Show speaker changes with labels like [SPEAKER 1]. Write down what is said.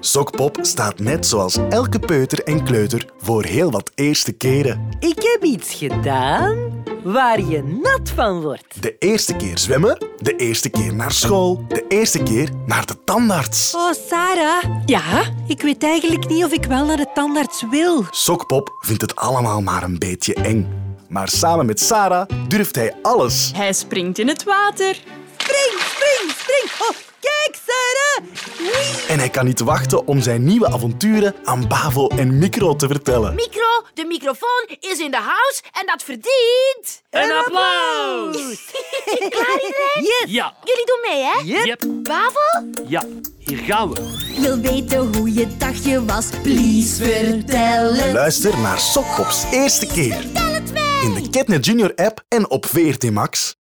[SPEAKER 1] Sokpop staat net zoals elke peuter en kleuter voor heel wat eerste keren.
[SPEAKER 2] Ik heb iets gedaan waar je nat van wordt.
[SPEAKER 1] De eerste keer zwemmen, de eerste keer naar school, de eerste keer naar de tandarts.
[SPEAKER 3] Oh, Sarah. Ja? Ik weet eigenlijk niet of ik wel naar de tandarts wil.
[SPEAKER 1] Sokpop vindt het allemaal maar een beetje eng. Maar samen met Sarah durft hij alles.
[SPEAKER 4] Hij springt in het water.
[SPEAKER 3] Spring, spring, spring. Oh, kijk, Sarah.
[SPEAKER 1] En hij kan niet wachten om zijn nieuwe avonturen aan Bavo en Micro te vertellen.
[SPEAKER 5] Micro, de microfoon is in de house en dat verdient...
[SPEAKER 6] Een applaus!
[SPEAKER 5] Klaar iedereen?
[SPEAKER 2] Yes!
[SPEAKER 6] Ja,
[SPEAKER 5] Jullie doen mee, hè?
[SPEAKER 2] Yep.
[SPEAKER 6] yep,
[SPEAKER 5] Bavel?
[SPEAKER 6] ja. Hier gaan we.
[SPEAKER 7] Wil weten hoe je dagje was? Please vertellen.
[SPEAKER 1] Luister naar Sokpops eerste keer. In de Ketnet Junior app en op VRT Max.